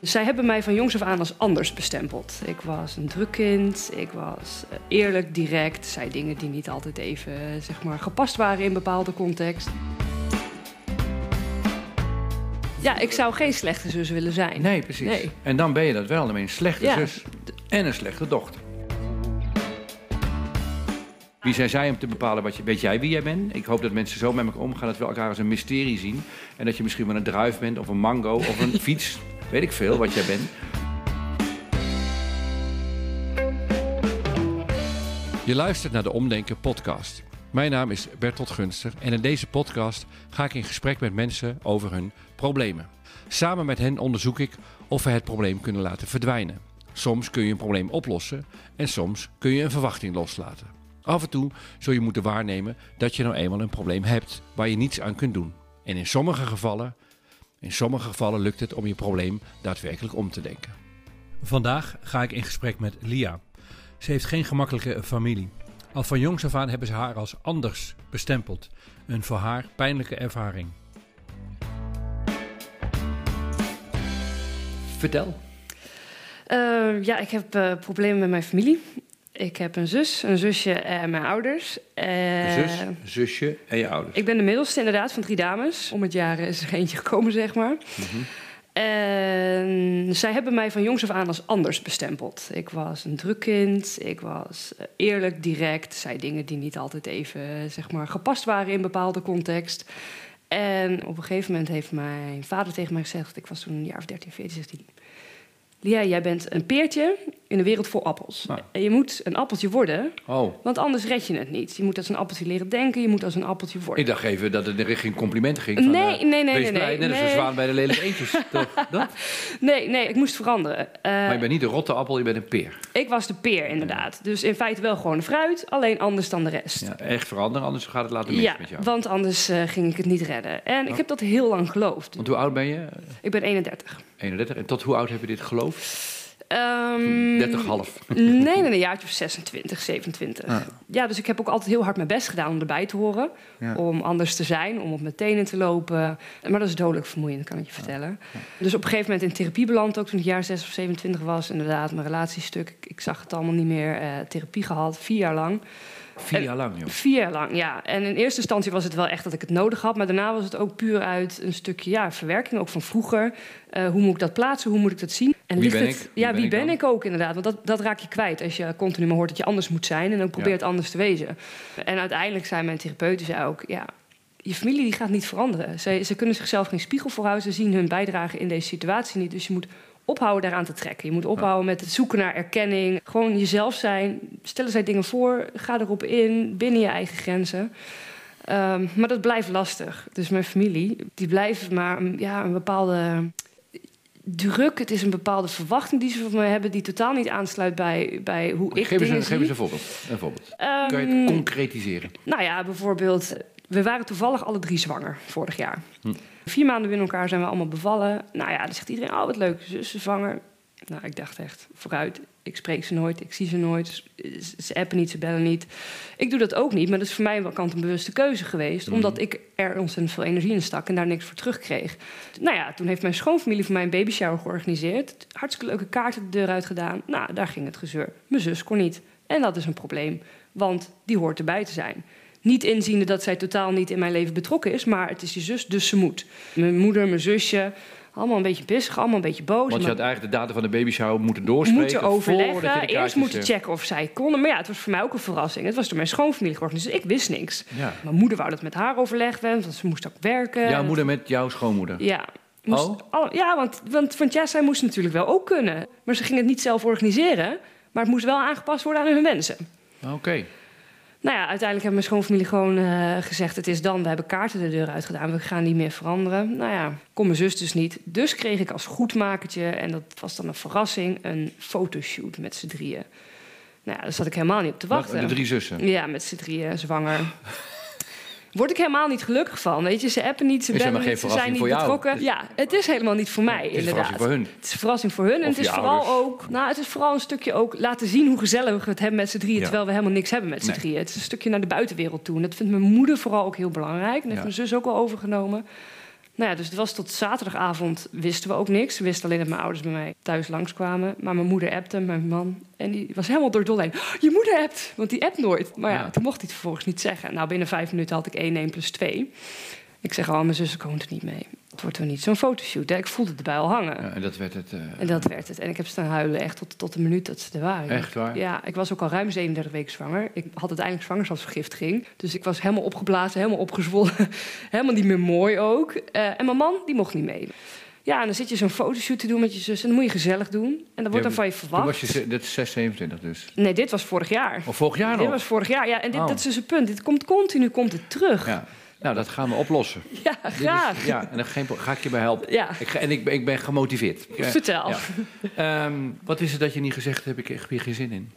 Dus Zij hebben mij van jongs af aan als anders bestempeld. Ik was een druk kind, ik was eh, eerlijk, direct, zei dingen die niet altijd even eh, zeg maar, gepast waren in bepaalde context. Ja, ik zou geen slechte zus willen zijn. Nee, precies. Nee. En dan ben je dat wel. Dan ben je een slechte Ja. zus en een slechte dochter. Wie zijn zij om te bepalen wat je... Weet jij wie jij bent? Ik hoop dat mensen zo met elkaar omgaan dat we elkaar als een mysterie zien. En dat je misschien wel een druif bent of een mango of een fiets. Weet ik veel wat jij bent. Je luistert naar de Omdenken podcast. Mijn naam is Bertolt Gunster en in deze podcast ga ik in gesprek met mensen over hun problemen. Samen met hen onderzoek ik of we het probleem kunnen laten verdwijnen. Soms kun je een probleem oplossen en soms kun je een verwachting loslaten. Af en toe zul je moeten waarnemen dat je nou eenmaal een probleem hebt waar je niets aan kunt doen. En in sommige gevallen, in sommige gevallen lukt het om je probleem daadwerkelijk om te denken. Vandaag ga ik in gesprek met Lia. Ze heeft geen gemakkelijke familie. Al van jongs af aan hebben ze haar als anders bestempeld. Een voor haar pijnlijke ervaring. Vertel. Eh, ja, ik heb eh, problemen met mijn familie. Ik heb een zus, een zusje en mijn ouders. Je Eh, zus, zusje en je ouders. Ik ben de middelste inderdaad van drie dames. Om het jaar is er eentje gekomen, zeg maar. En zij hebben mij van jongs af aan als anders bestempeld. Ik was een druk kind, ik was eh, eerlijk, direct, zei dingen die niet altijd even eh, zeg maar, gepast waren in bepaalde context. En op een gegeven moment heeft mijn vader tegen mij gezegd, ik was toen een jaar of 13, 14, 16. Lia, jij bent een peertje in een wereld vol appels. Nou. En je moet een appeltje worden, Oh, want anders red je het niet. Je moet als een appeltje leren denken, je moet als een appeltje worden. ik dacht even dat het in richting complimenten ging. Van, Nee, eh, nee, nee, Wees nee, blij, nee, net als een nee. Eh. zwaan bij de lelijke eentjes. Toch? Dat? Nee, nee, ik moest veranderen. Eh, Maar je bent niet de rotte appel, je bent een peer. Ik was de peer, inderdaad. Dus in feite wel gewoon een fruit, alleen anders dan de rest. Ja, echt veranderen, anders gaat het later mis Ja, met jou. Oh. want anders eh, ging ik het niet redden. En ik heb dat heel lang geloofd. Want hoe oud ben je? Eh, Ik ben 31. 31. En tot hoe oud heb je dit geloofd? Ehm 30 half. Nee, nee, een jaartje of 26, 27. Ah. Ja, dus ik heb ook altijd heel hard mijn best gedaan om erbij te horen. Ja. Om anders te zijn, om op mijn tenen te lopen. Maar dat is dodelijk vermoeiend, kan ik je vertellen. Dus op een gegeven moment in therapie beland, ook toen ik jaar 6 of 27 was. Inderdaad, mijn relatiestuk. Ik, ik zag het allemaal niet meer. Eh, therapie gehad, vier jaar lang. Vier En- jaar lang, joh. Vier jaar lang, ja. En in eerste instantie was het wel echt dat ik het nodig had. Maar daarna was het ook puur uit een stukje ja, verwerking, ook van vroeger. Eh, hoe moet ik dat plaatsen? Hoe moet ik dat zien? En Wie ligt ben het, ik? Wie Ja, ben wie ik ben dan? ik ook inderdaad? Want dat, dat raak je kwijt als je continu maar hoort dat je anders moet zijn. En ook probeert anders te wezen. En uiteindelijk zei mijn therapeut die zei ook... Ja, je familie die gaat niet veranderen. Ze, ze kunnen zichzelf geen spiegel voorhouden. Ze zien hun bijdrage in deze situatie niet. Dus je moet ophouden daaraan te trekken. Je moet ophouden met het zoeken naar erkenning. Gewoon jezelf zijn. Stellen zij dingen voor. Ga erop in. Binnen je eigen grenzen. Ehm, maar dat blijft lastig. Dus mijn familie, die blijven maar mm, ja, een bepaalde druk. Het is een bepaalde verwachting die ze van mij hebben... die totaal niet aansluit bij, bij hoe ik Geef eens, dingen een, zie. geef eens een voorbeeld. Een voorbeeld. Ehm, Kan je het concretiseren? nou ja, bijvoorbeeld, we waren toevallig alle drie zwanger vorig jaar. Hm. Vier maanden binnen elkaar zijn we allemaal bevallen. Nou ja, dan zegt iedereen, oh wat leuk, zus is zwanger. Nou, ik dacht echt, vooruit, ik spreek ze nooit, ik zie ze nooit. Ze- Ze appen niet, ze bellen niet. Ik doe dat ook niet, maar dat is voor mij wel kant een bewuste keuze geweest. Mhm. Omdat ik er ontzettend veel energie in stak en daar niks voor terugkreeg. Nou ja, toen heeft mijn schoonfamilie voor mij een babyshower georganiseerd. Hartstikke leuke kaarten de deur uit gedaan. Nou, daar ging het gezeur. Mijn zus kon niet. En dat is een probleem, want die hoort erbij te zijn. Niet inziende dat zij totaal niet in mijn leven betrokken is, maar het is die zus, dus ze moet. Mijn moeder, mijn zusje, allemaal een beetje pissig, allemaal een beetje boos. Want je Maar- had eigenlijk de data van de baby shower moeten doorspreken. moeten voordat je overleggen. de Eerst kaartjes, moeten eh, checken of zij konden. Maar ja, het was voor mij ook een verrassing. Het was door mijn schoonfamilie georganiseerd, dus ik wist niks. Ja. Mijn moeder wou dat met haar overlegd werd, want ze moest ook werken. Jouw moeder met jouw schoonmoeder. Ja. Moest- Oh? al- ja, want, want, want ja, zij moest natuurlijk wel ook kunnen. Maar ze ging het niet zelf organiseren. Maar het moest wel aangepast worden aan hun wensen. Oké. Nou ja, uiteindelijk heeft mijn schoonfamilie gewoon eh, gezegd... het is dan, we hebben kaarten de deur uitgedaan, we gaan niet meer veranderen. Nou ja, kon mijn zus dus niet. Dus kreeg ik als goedmakertje, en dat was dan een verrassing... een fotoshoot met z'n drieën. Nou ja, daar zat ik helemaal niet op te Wat- wachten. De drie zussen. Ja, met z'n drieën, zwanger. Word ik helemaal niet gelukkig van, weet je. Ze appen niet, ze Is bellen helemaal niet, geen ze zijn niet verrassing voor jou. betrokken. Ja, het is helemaal niet voor mij, Het is een inderdaad. verrassing voor hun. Het is een verrassing voor hun. en Of dus. het is je vooral ouders. ook, nou, het is vooral een stukje ook laten zien hoe gezellig we het hebben met z'n drieën. Ja. Terwijl we helemaal niks hebben met z'n Nee. drieën. Het is een stukje naar de buitenwereld toe. En dat vindt mijn moeder vooral ook heel belangrijk. En dat heeft Ja. mijn zus ook al overgenomen. Nou ja, dus het was tot zaterdagavond wisten we ook niks. We wisten alleen dat mijn ouders bij mij thuis langskwamen. Maar mijn moeder appte, mijn man. En die was helemaal door het dolle heen. "Oh, Je moeder appt, want die appt nooit. Maar ja, Ja. toen mocht hij het vervolgens niet zeggen. Nou, binnen vijf minuten had ik één 1 plus 2. Ik zeg al, mijn zussen komt er niet mee. Het wordt er niet zo'n fotoshoot. hè? Ik voelde het bij al hangen. Ja, en dat werd het. eh, En dat werd het. En ik heb staan huilen echt tot, tot de minuut dat ze er waren. Echt waar? Ja, ik was ook al ruim 37 weken zwanger. Ik had uiteindelijk zwangerschapsvergiftiging. Dus ik was helemaal opgeblazen, helemaal opgezwollen. helemaal niet meer mooi ook. Eh, en mijn man, die mocht niet mee. Ja, en dan zit je zo'n fotoshoot te doen met je zus. En dat moet je gezellig doen. En dat wordt dan van je Toen was verwacht. je ze- dat is 6, 27 dus. Nee, dit was vorig jaar. Of vorig jaar dit nog? was vorig jaar. Ja, en dit, Ah, Oh. dat is dus het punt. Dit komt continu komt het terug. Ja, Ja. Nou, dat gaan we oplossen. Dit is- graag. ja, en dan geen, pro- ga ik je bij helpen. Ja, Ik ga, en ik, ben- ik ben gemotiveerd. Ik, eh, vertel. ja. ehm, wat is het dat je niet gezegd hebt? Ik heb hier geen zin in.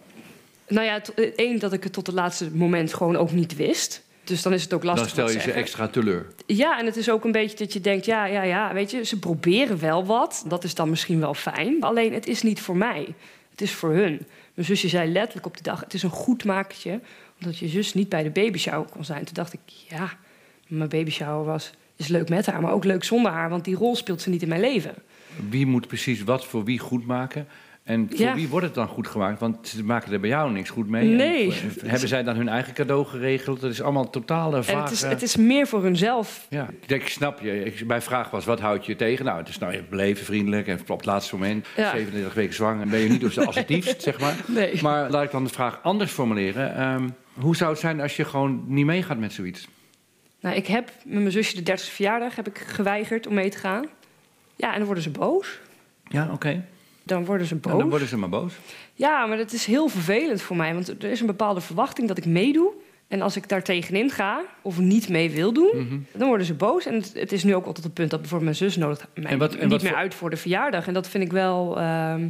Nou ja, t- eh, één, dat ik het tot het laatste moment gewoon ook niet wist. Dus dan is het ook lastig Dan stel wat je ze zeggen. extra teleur. Ja, en het is ook een beetje dat je denkt, ja, ja, ja, weet je, ze proberen wel wat. Dat is dan misschien wel fijn. Alleen het is niet voor mij. Het is voor hun. Mijn zusje zei letterlijk op die dag, het is een goed makertje. Omdat je zus niet bij de babyshower kon zijn. Toen dacht ik, ja, mijn babyshower was, is leuk met haar, maar ook leuk zonder haar. Want die rol speelt ze niet in mijn leven. Wie moet precies wat voor wie goed maken? En voor Ja. wie wordt het dan goed gemaakt? Want ze maken er bij jou niks goed mee. En Nee. voor- hebben zij dan hun eigen cadeau geregeld? Dat is allemaal totale vage... En het is, het is meer voor hunzelf. Ja, ik, denk, ik snap je. Ik, mijn vraag was, wat houd je tegen? Nou, het is nou je beleven, vriendelijk en op het laatste moment, Ja. 37 weken zwanger, en ben je niet op de assertiefst, zeg maar. Nee. Maar laat ik dan de vraag anders formuleren. Ehm, hoe zou het zijn als je gewoon niet meegaat met zoiets? Nou, ik heb met mijn zusje de 30e verjaardag heb ik geweigerd om mee te gaan. Ja, en dan worden ze boos. Ja, oké. Dan worden ze boos. Nou, dan worden ze maar boos. Ja, maar dat is heel vervelend voor mij. Want er is een bepaalde verwachting dat ik meedoe. En als ik daar tegenin ga of niet mee wil doen, Mhm. dan worden ze boos. En het, het is nu ook al tot het punt dat bijvoorbeeld mijn zus nodigt mij En wat- en niet wat meer voor- uit voor de verjaardag. En dat vind ik wel... ehm,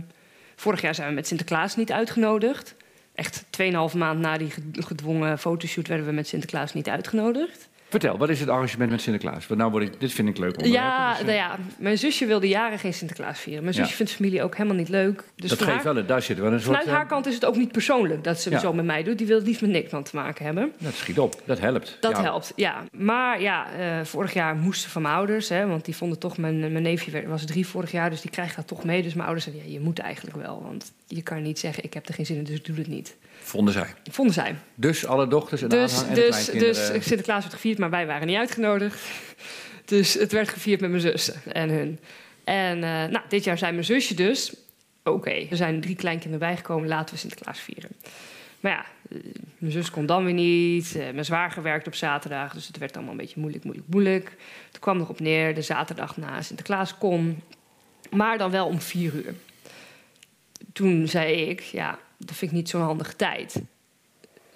vorig jaar zijn we met Sinterklaas niet uitgenodigd. Echt 2,5 maand na die ged- gedwongen fotoshoot werden we met Sinterklaas niet uitgenodigd. Vertel, wat is het arrangement met Sinterklaas? Want nou word ik, dit vind ik leuk onderwerp. Ja, dus, eh, nou ja, mijn zusje wilde jaren geen Sinterklaas vieren. Mijn Ja. zusje vindt familie ook helemaal niet leuk. Dus dat van geeft haar- wel, een- daar zit wel een soort... Vanuit haar eh, kant is het ook niet persoonlijk dat ze Ja. zo met mij doet. Die wil het liefst met niks aan te maken hebben. eh, Dat schiet op, dat helpt. Dat Ja. helpt, ja. Maar ja, eh, vorig jaar moesten van mijn ouders, hè, want die vonden toch, mijn, mijn neefje werd- was drie vorig jaar, dus die krijgt dat toch mee. Dus mijn ouders zeiden, ja, je moet eigenlijk wel, want je kan niet zeggen, ik heb er geen zin in, dus ik doe het niet. Vonden zij. Vonden zij. Dus alle dochters en Dus, aanhang en de dus, dus kleinkinderen. eh, Sinterklaas werd gevierd, maar wij waren niet uitgenodigd. Dus het werd gevierd met mijn zussen en hun. En eh, nou, dit jaar zijn mijn zusje dus. Oké, er zijn drie kleinkinderen bijgekomen, laten we Sinterklaas vieren. Maar ja, eh, mijn zus kon dan weer niet. eh, Mijn zwager werkte op zaterdag, dus het werd allemaal een beetje moeilijk, moeilijk, moeilijk. Het kwam erop neer, de zaterdag na Sinterklaas kon. Maar dan wel om vier uur. Toen zei ik, ja, dat vind ik niet zo'n handige tijd.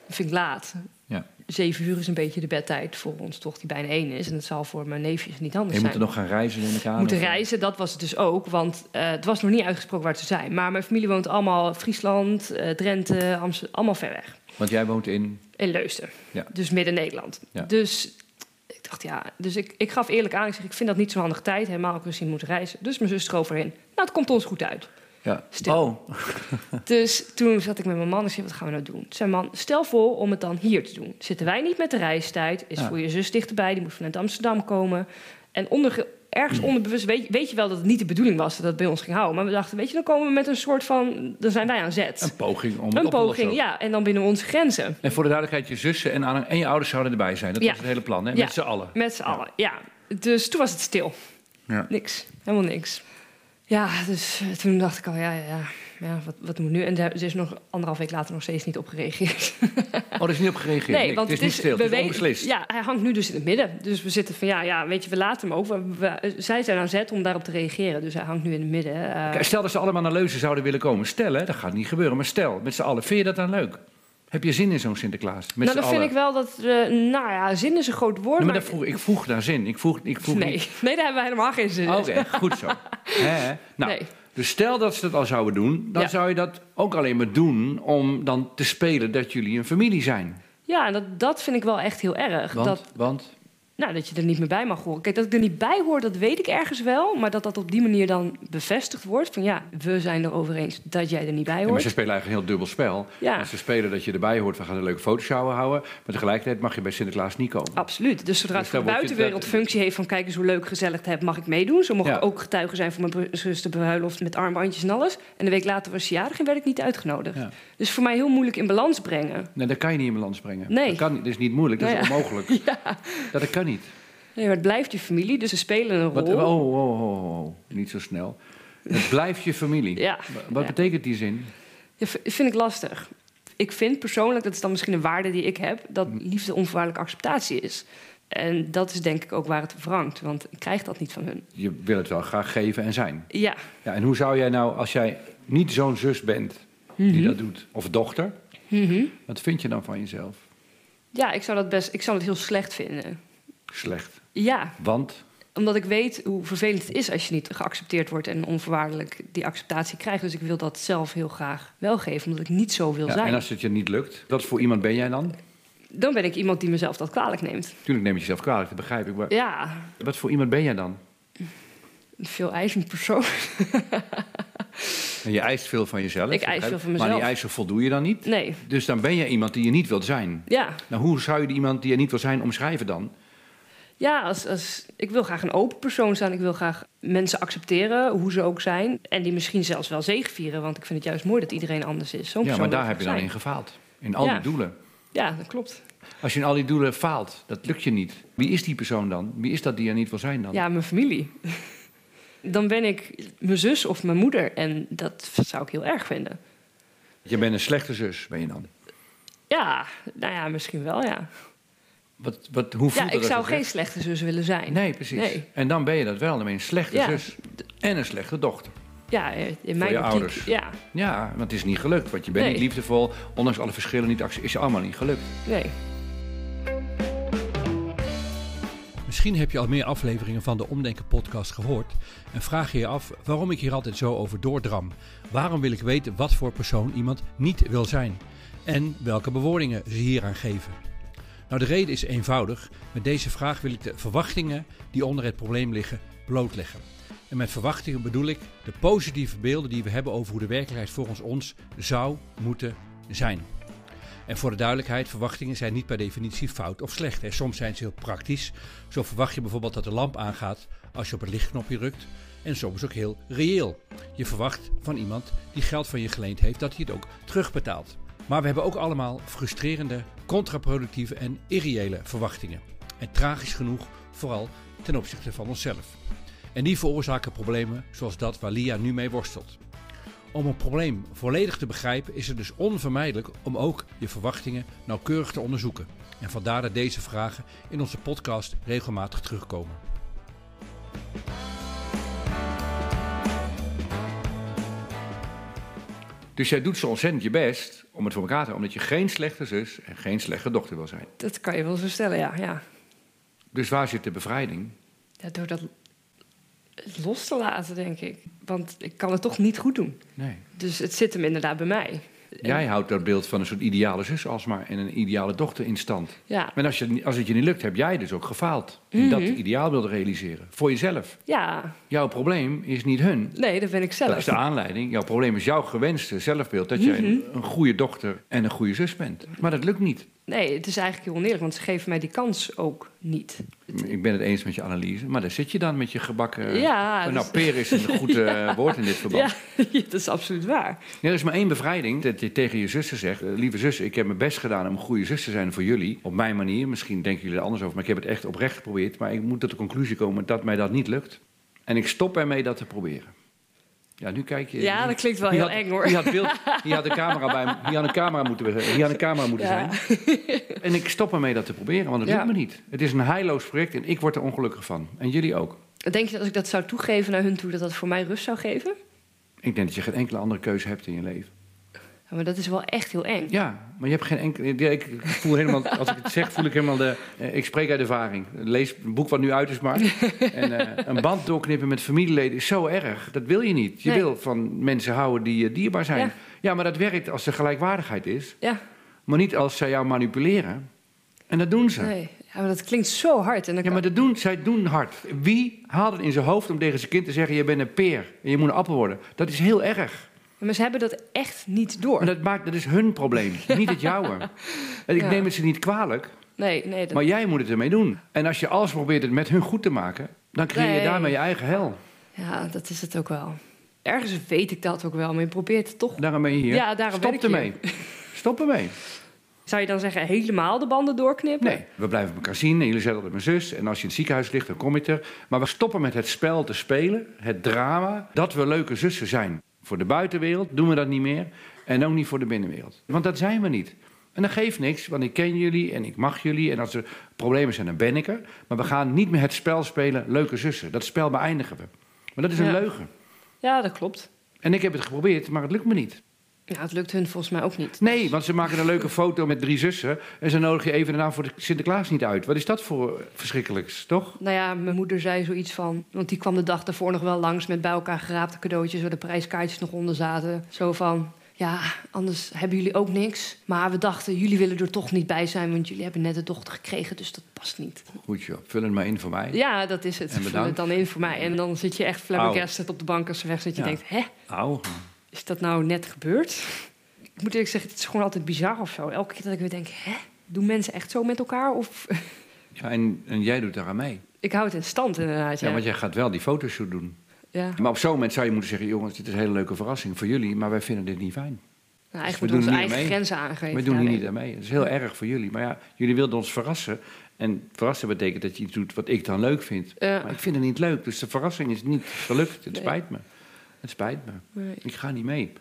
Dat vind ik laat. Ja. Zeven uur is een beetje de bedtijd voor ons, toch, die bijna één is. En dat zal voor mijn neefjes niet anders Je moet zijn er nog gaan reizen in elkaar. moeten reizen. Dat was het dus ook, want eh, het was nog niet uitgesproken waar ze zijn. Maar mijn familie woont allemaal Friesland, eh, Drenthe, Amsterdam, allemaal ver weg. Want jij woont in... In Leusden, Ja. dus midden Nederland. Ja. Dus ik dacht, ja, dus ik, ik gaf eerlijk aan. Ik zeg, ik vind dat niet zo'n handige tijd, helemaal ook gezien moet reizen. Dus mijn zus erover in. Nou, het komt ons goed uit. Ja. Stil. Oh, Dus toen zat ik met mijn man en zei, wat gaan we nou doen? Toen zei mijn man, stel voor om het dan hier te doen. Zitten wij niet met de reistijd, is Ja. voor je zus dichterbij, die moet vanuit Amsterdam komen. En onder, ergens onderbewust weet, weet je wel dat het niet de bedoeling was dat dat bij ons ging houden. Maar we dachten, weet je, dan komen we met een soort van, dan zijn wij aan zet. Een poging om het Een op te poging, lossen. ja, en dan binnen onze grenzen. En voor de duidelijkheid, je zussen en, aanhang- en je ouders zouden erbij zijn. Dat Ja. was het hele plan, hè? Ja. Met z'n allen. Met z'n allen, ja. Dus toen was het stil. Ja. Niks, helemaal niks. Ja, dus eh, toen dacht ik al, ja, ja, ja, ja wat, wat doen we nu? En daar- ze is nog anderhalf week later nog steeds niet op gereageerd. Oh, er is niet op gereageerd. Nee, Nick. want het is niet stil, het we is weten- onbeslist. Ja, hij hangt nu dus in het midden. Dus we zitten van, ja, ja weet je, we laten hem ook. We- we- zij zijn aan zet om daarop te reageren. Dus hij hangt nu in het midden. Eh, Kijk, Stel dat ze allemaal naar Leuzen zouden willen komen. Stel, hè, dat gaat niet gebeuren. Maar stel, met z'n allen, vind je dat dan leuk? Heb je zin in zo'n Sinterklaas? Met nou, z'n dan vind allen. ik wel dat, eh, nou ja, zin is een groot woord. Nee, maar dat vroeg, ik vroeg daar zin. Ik vroeg, ik vroeg nee. niet- nee, daar hebben we helemaal geen zin in. Oké, goed zo. Hè? Nou, Oh, Nee. Dus stel dat ze dat al zouden doen, dan Ja. zou je dat ook alleen maar doen om dan te spelen dat jullie een familie zijn. Ja, en dat, dat vind ik wel echt heel erg. Want, Dat, want Nou, dat je er niet meer bij mag horen. Kijk, dat ik er niet bij hoor, dat weet ik ergens wel. Maar dat dat op die manier dan bevestigd wordt. Van ja, we zijn erover eens dat jij er niet bij Ja, maar ze hoort. spelen eigenlijk een heel dubbel spel. Ja. Want Ze spelen dat je erbij hoort, we gaan een leuke fotoshower houden. Maar tegelijkertijd mag je bij Sinterklaas niet komen. Absoluut. Dus zodra Dus het voor de daar word je- buitenwereld functie heeft van kijk eens hoe leuk gezellig het heb, mag ik meedoen. Zo mag Ja. ik ook getuige zijn van mijn zuster bruiloft met armbandjes en alles. En een week later was ze jarig en werd ik niet uitgenodigd. Ja. Dus voor mij heel moeilijk in balans brengen. Nee, dat kan je niet in balans brengen. Nee. Dat, kan, niet. dat is niet moeilijk, dat Nou is ja. onmogelijk. Dat, dat kan niet. Nee, maar het blijft je familie, dus ze spelen een Wat, rol. oh, oh, oh, oh, oh, niet zo snel. Het blijft je familie. Ja. Wa- Wat Ja. betekent die zin? Ja, v- vind ik lastig. Ik vind persoonlijk, dat is dan misschien een waarde die ik heb, dat Mm. liefde onvoorwaardelijke acceptatie is. En dat is denk ik ook waar het wrangt, want ik krijg dat niet van hun. Je wil het wel graag geven en zijn. Ja, Ja, en hoe zou jij nou, als jij niet zo'n zus bent die Mhm. dat doet, of dochter, wat vind je dan van jezelf? ja ik, zou dat best, ik zou dat heel slecht vinden. Slecht. Ja, Want omdat ik weet hoe vervelend het is als je niet geaccepteerd wordt en onvoorwaardelijk die acceptatie krijgt. Dus ik wil dat zelf heel graag wel geven, omdat ik niet zo wil Ja, zijn. en als het je niet lukt, wat voor iemand ben jij dan? Dan ben ik iemand die mezelf dat kwalijk neemt. Tuurlijk neem je jezelf kwalijk, dat begrijp ik. Maar Ja, wat voor iemand ben jij dan? een veel eisend persoon. En je eist veel van jezelf. Ik eis veel van mezelf. Maar die eisen voldoe je dan niet. Nee, Dus dan ben je iemand die je niet wilt zijn. ja. Nou, hoe zou je die iemand die je niet wil zijn omschrijven dan? Ja, als, als, ik wil graag een open persoon zijn. Ik wil graag mensen accepteren, hoe ze ook zijn. En die misschien zelfs wel zegevieren. Want ik vind het juist mooi dat iedereen anders is. Zo'n ja, persoon maar wil daar ik heb je dan in graag gefaald. In al Ja. die doelen. zijn. Ja, dat klopt. Als je in al die doelen faalt, dat lukt je niet. Wie is die persoon dan? Wie is dat die je niet wil zijn dan? Ja, mijn familie. Dan ben ik mijn zus of mijn moeder. En dat zou ik heel erg vinden. Je bent een slechte zus, ben je dan? Ja, nou ja, misschien wel, ja. Wat, wat, hoe voelt Ja, dat ik als zou je geen zegt? slechte zus willen zijn. Nee, precies. Nee. En dan ben je dat wel. Dan ben je een slechte Ja. zus en een slechte dochter. Ja, eh, in je mijn optiek- ouders. Ja, Ja, want het is niet gelukt. Want je bent Nee. niet liefdevol. Ondanks alle verschillen niet, actie- is je allemaal niet gelukt. nee. Misschien heb je al meer afleveringen van de Omdenken podcast gehoord en vraag je je af waarom ik hier altijd zo over doordram. Waarom wil ik weten wat voor persoon iemand niet wil zijn en welke bewoordingen ze hieraan geven? Nou, de reden is eenvoudig. Met deze vraag wil ik de verwachtingen die onder het probleem liggen blootleggen. En met verwachtingen bedoel ik de positieve beelden die we hebben over hoe de werkelijkheid volgens ons zou moeten zijn. En voor de duidelijkheid, verwachtingen zijn niet per definitie fout of slecht. En soms zijn ze heel praktisch. Zo verwacht je bijvoorbeeld dat de lamp aangaat als je op het lichtknopje drukt. En soms ook heel reëel. Je verwacht van iemand die geld van je geleend heeft dat hij het ook terugbetaalt. Maar we hebben ook allemaal frustrerende, contraproductieve en irreële verwachtingen. En tragisch genoeg vooral ten opzichte van onszelf. En die veroorzaken problemen zoals dat waar Lia nu mee worstelt. Om een probleem volledig te begrijpen is het dus onvermijdelijk om ook je verwachtingen nauwkeurig te onderzoeken. En vandaar dat deze vragen in onze podcast regelmatig terugkomen. Dus jij doet zo ontzettend je best om het voor elkaar te houden. Omdat je geen slechte zus en geen slechte dochter wil zijn. Dat kan je wel zo stellen, ja. ja. Dus waar zit de bevrijding? ja door dat los te laten, denk ik. Want ik kan het toch niet goed doen. Nee. Dus het zit hem inderdaad bij mij. Jij houdt dat beeld van een soort ideale zus alsmaar en een ideale dochter in stand. Ja, En als, je, als het je niet lukt, heb jij dus ook gefaald. In dat Mhm. ideaalbeeld realiseren. Voor jezelf. ja. Jouw probleem is niet hun. nee, dat ben ik Dat is zelf. Mhm. de aanleiding. Jouw probleem is jouw gewenste zelfbeeld. Dat jij een, een goede dochter en een goede zus bent. Maar dat lukt niet. Nee, het is eigenlijk heel oneerlijk, want ze geven mij die kans ook niet. Ik ben het eens met je analyse. Maar daar zit je dan met je gebakken... Ja, nou, dus- peren is een goed eh, woord in dit verband. Ja, dat is absoluut waar. Ja, er is maar één bevrijding. Dat je tegen je zussen zegt... eh, Lieve zussen, ik heb mijn best gedaan om een goede zus te zijn voor jullie. Op mijn manier. Misschien denken jullie er anders over. Maar ik heb het echt oprecht geprobeerd. Maar ik moet tot de conclusie komen dat mij dat niet lukt. En ik stop ermee dat te proberen. Ja, nu kijk je... Ja, dat klinkt wel Je heel had- eng hoor. Je had, beeld, je had een camera bij je had een camera moeten, je had een camera moeten Ja. zijn. En ik stop ermee dat te proberen, want het Ja. lukt me niet. Het is een heilloos project en ik word er ongelukkig van. En jullie ook. Denk je dat als ik dat zou toegeven naar hun toe, dat dat voor mij rust zou geven? Ik denk dat je geen enkele andere keuze hebt in je leven. Ja, maar dat is wel echt heel eng. Ja, maar je hebt geen enkele... ja, Ik voel helemaal, als ik het zeg, voel ik helemaal de... eh, Ik spreek uit ervaring. Lees een boek wat nu uit is maar. En eh, een band doorknippen met familieleden is zo erg. Dat wil je niet. Je Nee. wil van mensen houden die je dierbaar zijn. Ja. ja, maar dat werkt als er gelijkwaardigheid is. Ja, Maar niet als zij jou manipuleren. En dat doen ze. nee. Ja, maar dat klinkt zo hard. En dan Ja, maar dat doen, zij doen hard. Wie haalt het in zijn hoofd om tegen zijn kind te zeggen... je bent een peer en je moet een appel worden? Dat is heel erg. kan- maar ze hebben dat echt niet door. Maar dat, maakt, dat is hun probleem, niet het jouwe. En ik Ja. neem het ze niet kwalijk, Nee, nee. Dat... maar jij moet het ermee doen. En als je alles probeert het met hun goed te maken... dan creëer je Nee. daarmee je eigen hel. Ja, dat is het ook wel. Ergens weet ik dat ook wel, maar je probeert het toch. Daarom ben je hier. Ja, daarom ben Stop ik hier. ermee. Stop ermee. Zou je dan zeggen, helemaal de banden doorknippen? Nee, we blijven elkaar zien en jullie zijn altijd mijn zus. En als je in het ziekenhuis ligt, dan kom je er. Maar we stoppen met het spel te spelen, het drama, dat we leuke zussen zijn. Voor de buitenwereld doen we dat niet meer. En ook niet voor de binnenwereld. Want dat zijn we niet. En dat geeft niks, want ik ken jullie en ik mag jullie. En als er problemen zijn, dan ben ik er. Maar we gaan niet meer het spel spelen, leuke zussen. Dat spel beëindigen we. Maar dat is een Ja. leugen. Ja, dat klopt. En ik heb het geprobeerd, maar het lukt me niet. Ja, het lukt hun volgens mij ook niet. Nee, want ze maken een leuke foto met drie zussen. En ze nodig je even daarna voor de Sinterklaas niet uit. Wat is dat voor verschrikkelijks, toch? Nou ja, mijn moeder zei zoiets van... Want die kwam de dag daarvoor nog wel langs met bij elkaar geraapte cadeautjes... waar de prijskaartjes nog onder zaten. Zo van, ja, anders hebben jullie ook niks. Maar we dachten, jullie willen er toch niet bij zijn... want jullie hebben net een dochter gekregen, dus dat past niet. Goed joh, vul het maar in voor mij. Ja, dat is het. En Vul bedankt. het dan in voor mij. En dan zit je echt flabbergasted op de bank als ze weg zit. Je Ja. denkt, hè, Au. is dat nou net gebeurd? Ik moet eerlijk zeggen, het is gewoon altijd bizar of zo. Elke keer dat ik weer denk, hè, doen mensen echt zo met elkaar? Of Ja, en, en jij doet daar aan mee. ik hou het in stand inderdaad. Ja. Ja, want jij gaat wel die fotoshoot doen. Ja. Maar op zo'n moment zou je moeten zeggen... jongens, dit is een hele leuke verrassing voor jullie... maar wij vinden dit niet fijn. Nou, eigenlijk Dus we moeten we doen onze hier eigen mee. grenzen aangeven. Wij doen Ja, hier nee. niet aan mee. Het is heel erg voor jullie. Maar ja, jullie wilden ons verrassen. En verrassen betekent dat je iets doet wat ik dan leuk vind. Ja. Maar ik vind het niet leuk. Dus de verrassing is niet gelukt. Het Nee. spijt me. Het spijt me. Nee. Ik ga niet mee.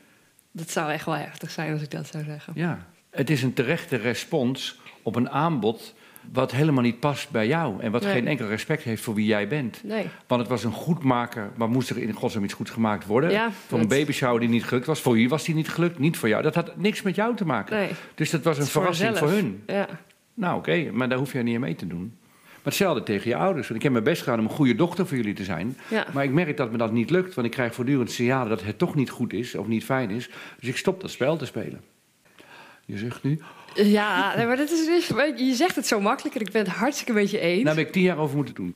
Dat zou echt wel heftig zijn als ik dat zou zeggen. Ja, het is een terechte respons op een aanbod wat helemaal niet past bij jou en wat Nee. geen enkel respect heeft voor wie jij bent. Nee. Want het was een goedmaker, maar moest er in godsnaam iets goeds gemaakt worden? Ja, voor een dat- babyshower die niet gelukt was. Voor jullie was die niet gelukt, niet voor jou. Dat had niks met jou te maken. Nee. Dus dat was een Het is verrassing voor, zelf. hun. Ja. Nou oké, maar daar hoef je niet aan mee te doen. Maar hetzelfde tegen je ouders. Want ik heb mijn best gedaan om een goede dochter voor jullie te zijn. Ja. Maar ik merk dat me dat niet lukt. Want ik krijg voortdurend signalen dat het toch niet goed is of niet fijn is. Dus ik stop dat spel te spelen. Je zegt nu. nou, Ja, nee, maar dat is, dus- je zegt het zo makkelijk en ik ben het hartstikke met je eens. Daar heb ik tien jaar over moeten doen.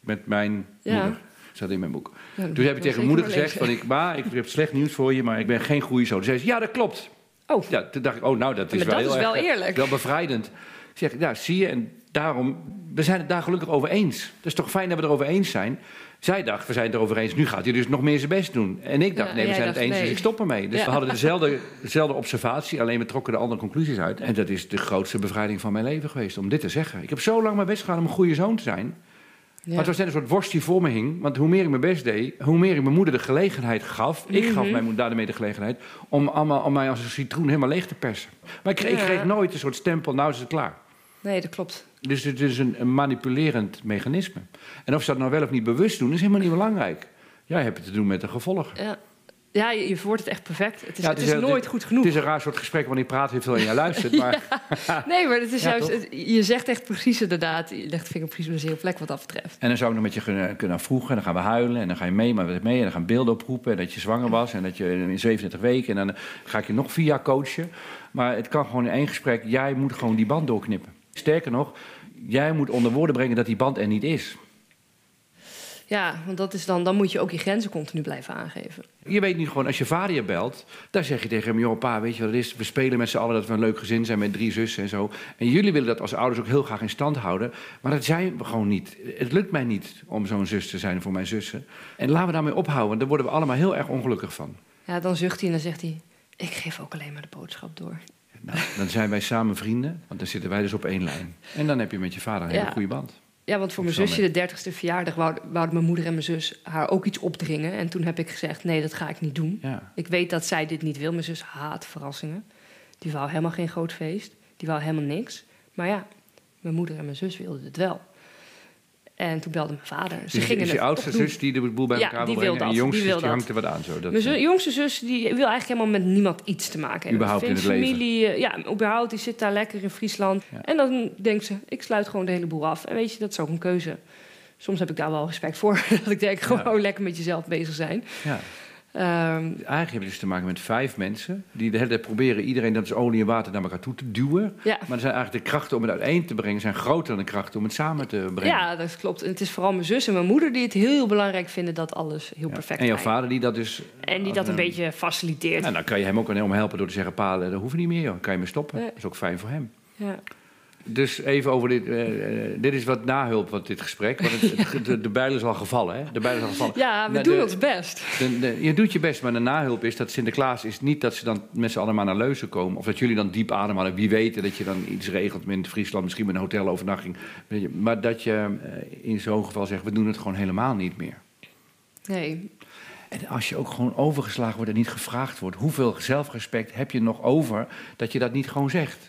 Met mijn Ja. moeder. Zat in mijn boek. Ja, dat Toen heb wil ik ik tegen mijn moeder zeker wel gezegd: van, ik, Ma, ik heb slecht nieuws voor je, maar ik ben geen goede zoon. Toen zei ze: Ja, dat klopt. Oh, Ja, toen dacht ik: Oh, nou, dat Ja, is maar wel dat heel is wel erg, eh, eerlijk. Wel bevrijdend. Ik zeg: Ja, zie je, en daarom, we zijn het daar gelukkig over eens. Het is toch fijn dat we het erover eens zijn. Zij dacht: We zijn het erover eens, nu gaat hij dus nog meer zijn best doen. En ik dacht: Ja, Nee, we jij zijn het dacht, eens, dus nee. ik stop ermee. Dus Ja. we hadden dezelfde, dezelfde observatie, alleen we trokken er andere conclusies uit. En dat is de grootste bevrijding van mijn leven geweest, om dit te zeggen. Ik heb zo lang mijn best gedaan om een goede zoon te zijn. ja. Maar het was net een soort worst die voor me hing. Want hoe meer ik mijn best deed, hoe meer ik mijn moeder de gelegenheid gaf. Ik Mhm. gaf mijn moeder daarmee de gelegenheid. Om, allemaal, om mij als een citroen helemaal leeg te persen. Maar ik kreeg, ik Ja. kreeg nooit een soort stempel, nou is het klaar. nee, dat klopt. Dus het is een, een manipulerend mechanisme. En of ze dat nou wel of niet bewust doen, is helemaal niet belangrijk. Jij hebt het te doen met de gevolgen. Ja, ja je, je wordt het echt perfect. Het is, Ja, het is, heel- nooit goed genoeg. Het is een raar soort gesprek, want ik praat heel veel en jij luistert. Maar Nee, maar het is Ja, juist, toch? het- je zegt echt precies inderdaad, je legt de vinger precies op de zere plek wat dat betreft. En dan zou ik nog met je kunnen, kunnen vroegen. En dan gaan we huilen. En dan ga je mee, maar met mee. En dan gaan beelden oproepen. En dat je zwanger was. En dat je in 37 weken. En dan ga ik je nog vier jaar coachen. Maar het kan gewoon in één gesprek. Jij moet gewoon die band doorknippen. Sterker nog, jij moet onder woorden brengen dat die band er niet is. Ja, want dat is dan, dan moet je ook je grenzen continu blijven aangeven. Je weet niet gewoon, als je vader je belt, dan zeg je tegen hem... joh, pa, weet je wat het is? We spelen met z'n allen dat we een leuk gezin zijn met drie zussen en zo. En jullie willen dat als ouders ook heel graag in stand houden. Maar dat zijn we gewoon niet. Het lukt mij niet om zo'n zus te zijn voor mijn zussen. En laten we daarmee ophouden, want daar worden we allemaal heel erg ongelukkig van. Ja, dan zucht hij en dan zegt hij, ik geef ook alleen maar de boodschap door. Nou, dan zijn wij samen vrienden, want dan zitten wij dus op één lijn. En dan heb je met je vader een hele Ja. goede band. Ja, want voor mijn Zo zusje, de dertigste verjaardag, wou- wouden mijn moeder en mijn zus haar ook iets opdringen. En toen heb ik gezegd, nee, dat ga ik niet doen. Ja. Ik weet dat zij dit niet wil. Mijn zus haat verrassingen. Die wou helemaal geen groot feest. Die wou helemaal niks. Maar ja, mijn moeder en mijn zus wilden het wel. En toen belde mijn vader. Ze dus gingen is je het oudste toch doen. zus die de boel bij Ja, elkaar die wil brengen wil en dat, je jongste die zus wil die hangt er dat. wat aan. Zo. Dat, Mijn eh, zu- jongste zus die wil eigenlijk helemaal met niemand iets te maken hebben. Überhaupt in Vindt het leven. familie, eh, ja, überhaupt, die zit daar lekker in Friesland. Ja. En dan denkt ze, ik sluit gewoon de hele boel af. En weet je, dat is ook een keuze. Soms heb ik daar wel respect voor. dat ik denk, gewoon lekker met jezelf bezig zijn. ja. Ehm, Eigenlijk hebben we dus te maken met vijf mensen die de hele tijd proberen iedereen dat is olie en water naar elkaar toe te duwen. ja. Maar er zijn eigenlijk de krachten om het uiteen te brengen zijn groter dan de krachten om het samen te brengen. ja, dat klopt. En het is vooral mijn zus en mijn moeder die het heel belangrijk vinden dat alles heel Ja. perfect En jouw is. vader die dat dus... En die dat een beetje faciliteert. Nou, dan kan je hem ook enorm helpen door te zeggen, pa, eh, dat hoeft niet meer, joh. Dan kan je me stoppen. Nee. Dat is ook fijn voor hem. Ja. Dus even over dit. eh, eh, dit is wat nahulp van dit gesprek. Want het, het- de, de bijl is al gevallen, hè? De bijl is al gevallen. Ja, we Nou, doen de- ons best. de- de- je doet je best, maar de nahulp is dat Sinterklaas is niet dat ze dan met z'n allen maar naar Leuzen komen. Of dat jullie dan diep ademhalen. Wie weet dat je dan iets regelt in Friesland, misschien met een hotelovernachting. Weet je, Maar dat je eh, in zo'n geval zegt, we doen het gewoon helemaal niet meer. Nee, En als je ook gewoon overgeslagen wordt en niet gevraagd wordt, hoeveel zelfrespect heb je nog over dat je dat niet gewoon zegt?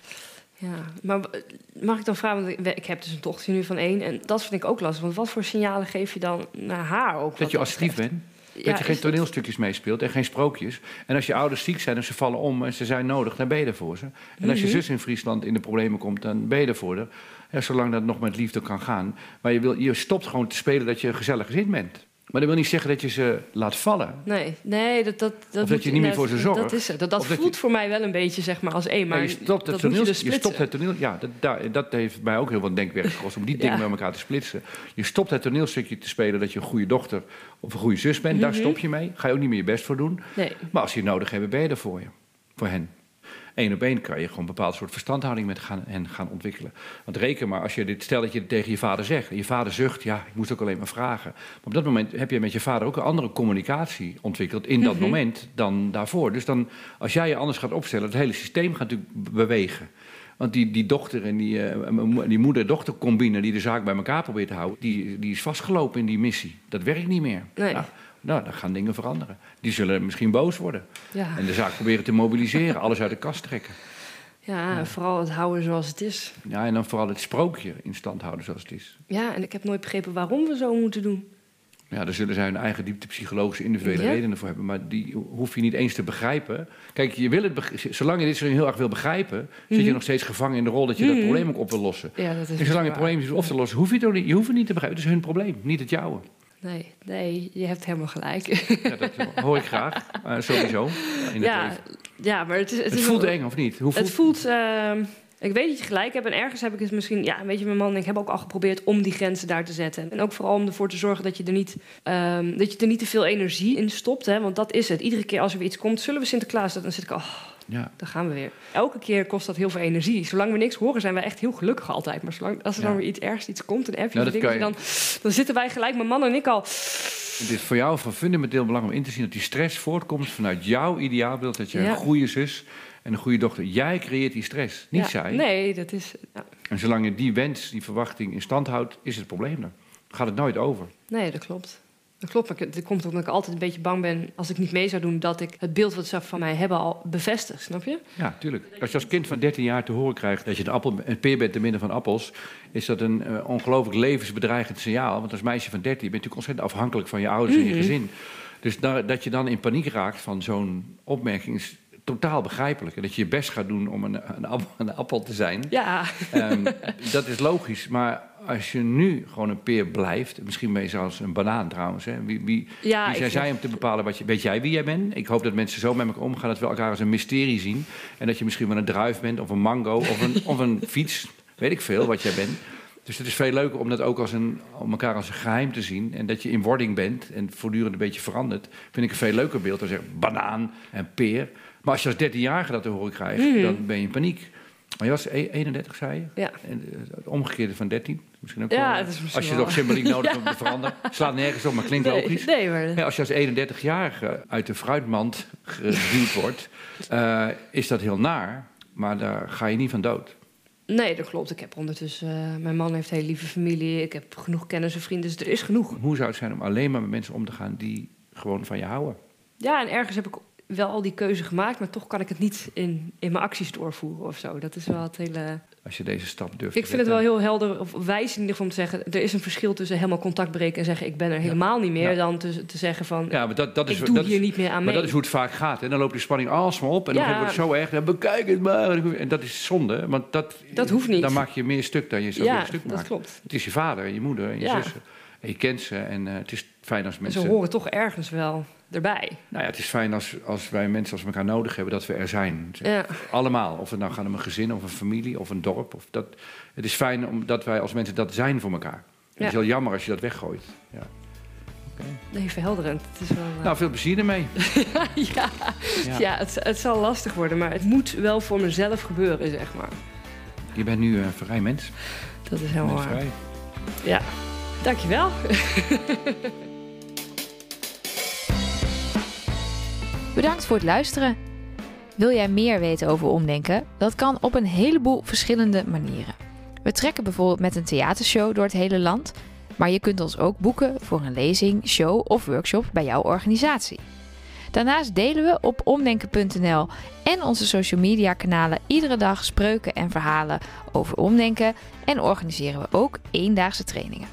Ja, maar w- mag ik dan vragen, want ik- we- ik heb dus een dochter nu van één... en dat vind ik ook lastig, want wat voor signalen geef je dan naar haar ook? Dat je assertief bent. bent, dat je geen toneelstukjes meespeelt en geen sprookjes. En als je ouders ziek zijn en ze vallen om en ze zijn nodig, dan ben je er voor ze. En als je Mhm. zus in Friesland in de problemen komt, dan ben je er voor haar. En zolang dat nog met liefde kan gaan. Maar je, wil, je stopt gewoon te spelen dat je een gezellig gezin bent. Maar dat wil niet zeggen dat je ze laat vallen. Nee, nee, dat... dat, dat dat moet je niet meer voor inderdaad- ze zorgt. Dat is het. Dat, dat Of dat voelt je- voor mij wel een beetje, zeg maar, als één. Maar Maar je stopt het dat moet toneel. je Je, dus splitsen. stopt het toneel. Ja, dat, daar- dat heeft mij ook heel wat denkwerk gekost om die dingen Ja. met elkaar te splitsen. Je stopt het toneelstukje te spelen dat je een goede dochter of een goede zus bent. Mhm. Daar stop je mee. Ga je ook niet meer je best voor doen. Nee, Maar als ze je nodig hebben, ben je er voor je. Voor hen. Eén op één kan je gewoon een bepaald soort verstandhouding met gaan, hen gaan ontwikkelen. Want reken maar, als je dit stelletje tegen je vader zegt. en Je vader zucht, ja, ik moest ook alleen maar vragen. Maar op dat moment heb je met je vader ook een andere communicatie ontwikkeld. in dat moment dan daarvoor. Dus dan, als jij je anders gaat opstellen, het hele systeem gaat natuurlijk be- bewegen. Want die, die dochter en die, eh, mo- die moeder-dochter-combine die de zaak bij elkaar probeert te houden. Die, die is vastgelopen in die missie. Dat werkt niet meer. Nee. Nou, nou, dan gaan dingen veranderen. Die zullen misschien boos worden. ja. En de zaak proberen te mobiliseren, alles uit de kast trekken. ja, en vooral het houden zoals het is. Ja, en dan vooral het sprookje in stand houden zoals het is. Ja, en ik heb nooit begrepen waarom we zo moeten doen. Ja, daar zullen zij hun eigen diepte psychologische individuele Ja. redenen voor hebben. Maar die hoef je niet eens te begrijpen. Kijk, je wil het beg- zolang je dit zo heel erg wil begrijpen, zit je nog steeds gevangen in de rol dat je dat probleem ook op wil lossen. Ja, Mhm. dat is En zolang je waar. probleem is op te lossen, hoef je het ook niet, je hoeft het niet te begrijpen. Het is hun probleem, niet het jouwe. Nee, nee, je hebt helemaal gelijk. Ja, dat hoor ik graag, eh, sowieso. In het ja, leven. ja, maar het is... het, is voelt wel- eng, of niet? Hoe voelt Het voelt. ehm, ik weet dat je gelijk hebt. En ergens heb ik het misschien. Ja, weet je, mijn man en ik hebben ook al geprobeerd om die grenzen daar te zetten. En ook vooral om ervoor te zorgen dat je er niet, ehm, dat je er niet te veel energie in stopt. Hè? Want dat is het. Iedere keer als er weer iets komt, zullen we Sinterklaas. dat- Dan zit ik al. "Oh, Ja. daar gaan we weer. Elke keer kost dat heel veel energie. Zolang we niks horen, zijn wij echt heel gelukkig altijd. Maar zolang, als er Ja. dan weer iets ergens iets komt, een appje, Nou, of dat een kan dingetje, dan, dan zitten wij gelijk, mijn man en ik al. Het is voor jou van fundamenteel belang om in te zien dat die stress voortkomt vanuit jouw ideaalbeeld. Dat je Ja. een goede zus en een goede dochter. Jij creëert die stress, niet Ja, zij. Nee, dat is. ja, En zolang je die wens, die verwachting in stand houdt, is het probleem er. Gaat het nooit over. Nee, dat klopt. Dat klopt, maar ik- dat komt omdat ik altijd een beetje bang ben... als ik niet mee zou doen, dat ik het beeld wat ze van mij hebben al bevestig, snap je? Ja, tuurlijk. Als je als kind van 13 jaar te horen krijgt dat je een, appel, een peer bent te midden van appels, is dat een eh, ongelooflijk levensbedreigend signaal. Want als meisje van 13 ben je natuurlijk ontzettend afhankelijk van je ouders Mhm. en je gezin. Dus da- dat je dan in paniek raakt van zo'n opmerking is totaal begrijpelijk. En dat je je best gaat doen om een, een, appel, een appel te zijn. Ja, Ehm, dat is logisch, maar als je nu gewoon een peer blijft, misschien ben je zelfs een banaan trouwens. Hè? Wie, wie, ja wie zijn ik- zij om te bepalen wat je. Weet jij wie jij bent? Ik hoop dat mensen zo met elkaar omgaan dat we elkaar als een mysterie zien. En dat je misschien wel een druif bent of een mango of een, of een fiets. Weet ik veel wat jij bent. Dus het is veel leuker om dat ook als een, om elkaar als een geheim te zien. En dat je in wording bent en voortdurend een beetje verandert. Vind ik een veel leuker beeld dan zeggen banaan en peer. Maar als je als 13-jarige dat te horen krijgt, dan ben je in paniek. Maar je was e- 31, zei je? Hmm. Ja. En, eh, het omgekeerde van 13. Misschien ook Ja, wel, dat is misschien Als je wel- toch symboliek nodig hebt om te veranderen. Slaat nergens op, maar klinkt nee, logisch. nee, maar... Ja, als je als 31-jarige uit de fruitmand geduwd wordt, eh, is dat heel naar. Maar daar ga je niet van dood. Nee, dat klopt. Ik heb ondertussen... eh, mijn man heeft een hele lieve familie. Ik heb genoeg kennis en vrienden, dus er is genoeg. Hoe zou het zijn om alleen maar met mensen om te gaan die gewoon van je houden? Ja, en ergens heb ik wel al die keuze gemaakt... maar toch kan ik het niet in, in mijn acties doorvoeren of zo. Dat is wel het hele... Als je deze stap durft Ik te vind het wel zetten. heel helder, of wijs in ieder geval om te zeggen... er is een verschil tussen helemaal contact breken en zeggen... ik ben er helemaal niet meer, Ja. dan te, te zeggen van... Ja, maar dat, dat is, ik doe dat hier is, niet meer aan maar mee. dat is hoe het vaak gaat. En dan loopt die spanning alsmaar op. En dan Ja. wordt het zo erg. Dan bekijk het maar. En dat is zonde. Want dat, Dat hoeft niet. Dan maak je meer stuk dan je zou ja, willen stuk dat maken. klopt. Het is je vader en je moeder en je Ja. zussen. En En je kent ze en eh, het is fijn als mensen... Ze horen toch ergens wel erbij. Nou ja, het is fijn als, als wij mensen als we elkaar nodig hebben, dat we er zijn. Ja. Allemaal. Of het nou gaat om een gezin, of een familie, of een dorp. Of dat. Het is fijn omdat wij als mensen dat zijn voor elkaar. Het Ja. is heel jammer als je dat weggooit. Ja. Nee, verhelderend. Het is wel, eh, Nou, veel plezier ermee. ja, ja. het, het zal lastig worden, maar het moet wel voor mezelf gebeuren, zeg maar. Je bent nu eh, een vrij mens. Dat is helemaal waar. Mensvrij. Ja, dankjewel. Bedankt voor het luisteren. Wil jij meer weten over omdenken? Dat kan op een heleboel verschillende manieren. We trekken bijvoorbeeld met een theatershow door het hele land, maar je kunt ons ook boeken voor een lezing, show of workshop bij jouw organisatie. Daarnaast delen we op omdenken.nl en onze social media kanalen iedere dag spreuken en verhalen over omdenken en organiseren we ook eendaagse trainingen.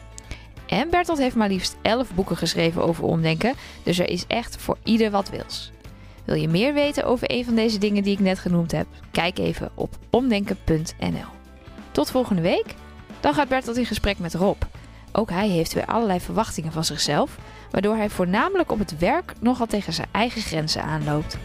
En Bertolt heeft maar liefst 11 boeken geschreven over omdenken, dus er is echt voor ieder wat wils. Wil je meer weten over een van deze dingen die ik net genoemd heb? Kijk even op omdenken.nl. Tot volgende week. Dan gaat Bertolt in gesprek met Rob. Ook hij heeft weer allerlei verwachtingen van zichzelf, waardoor hij voornamelijk op het werk nogal tegen zijn eigen grenzen aanloopt.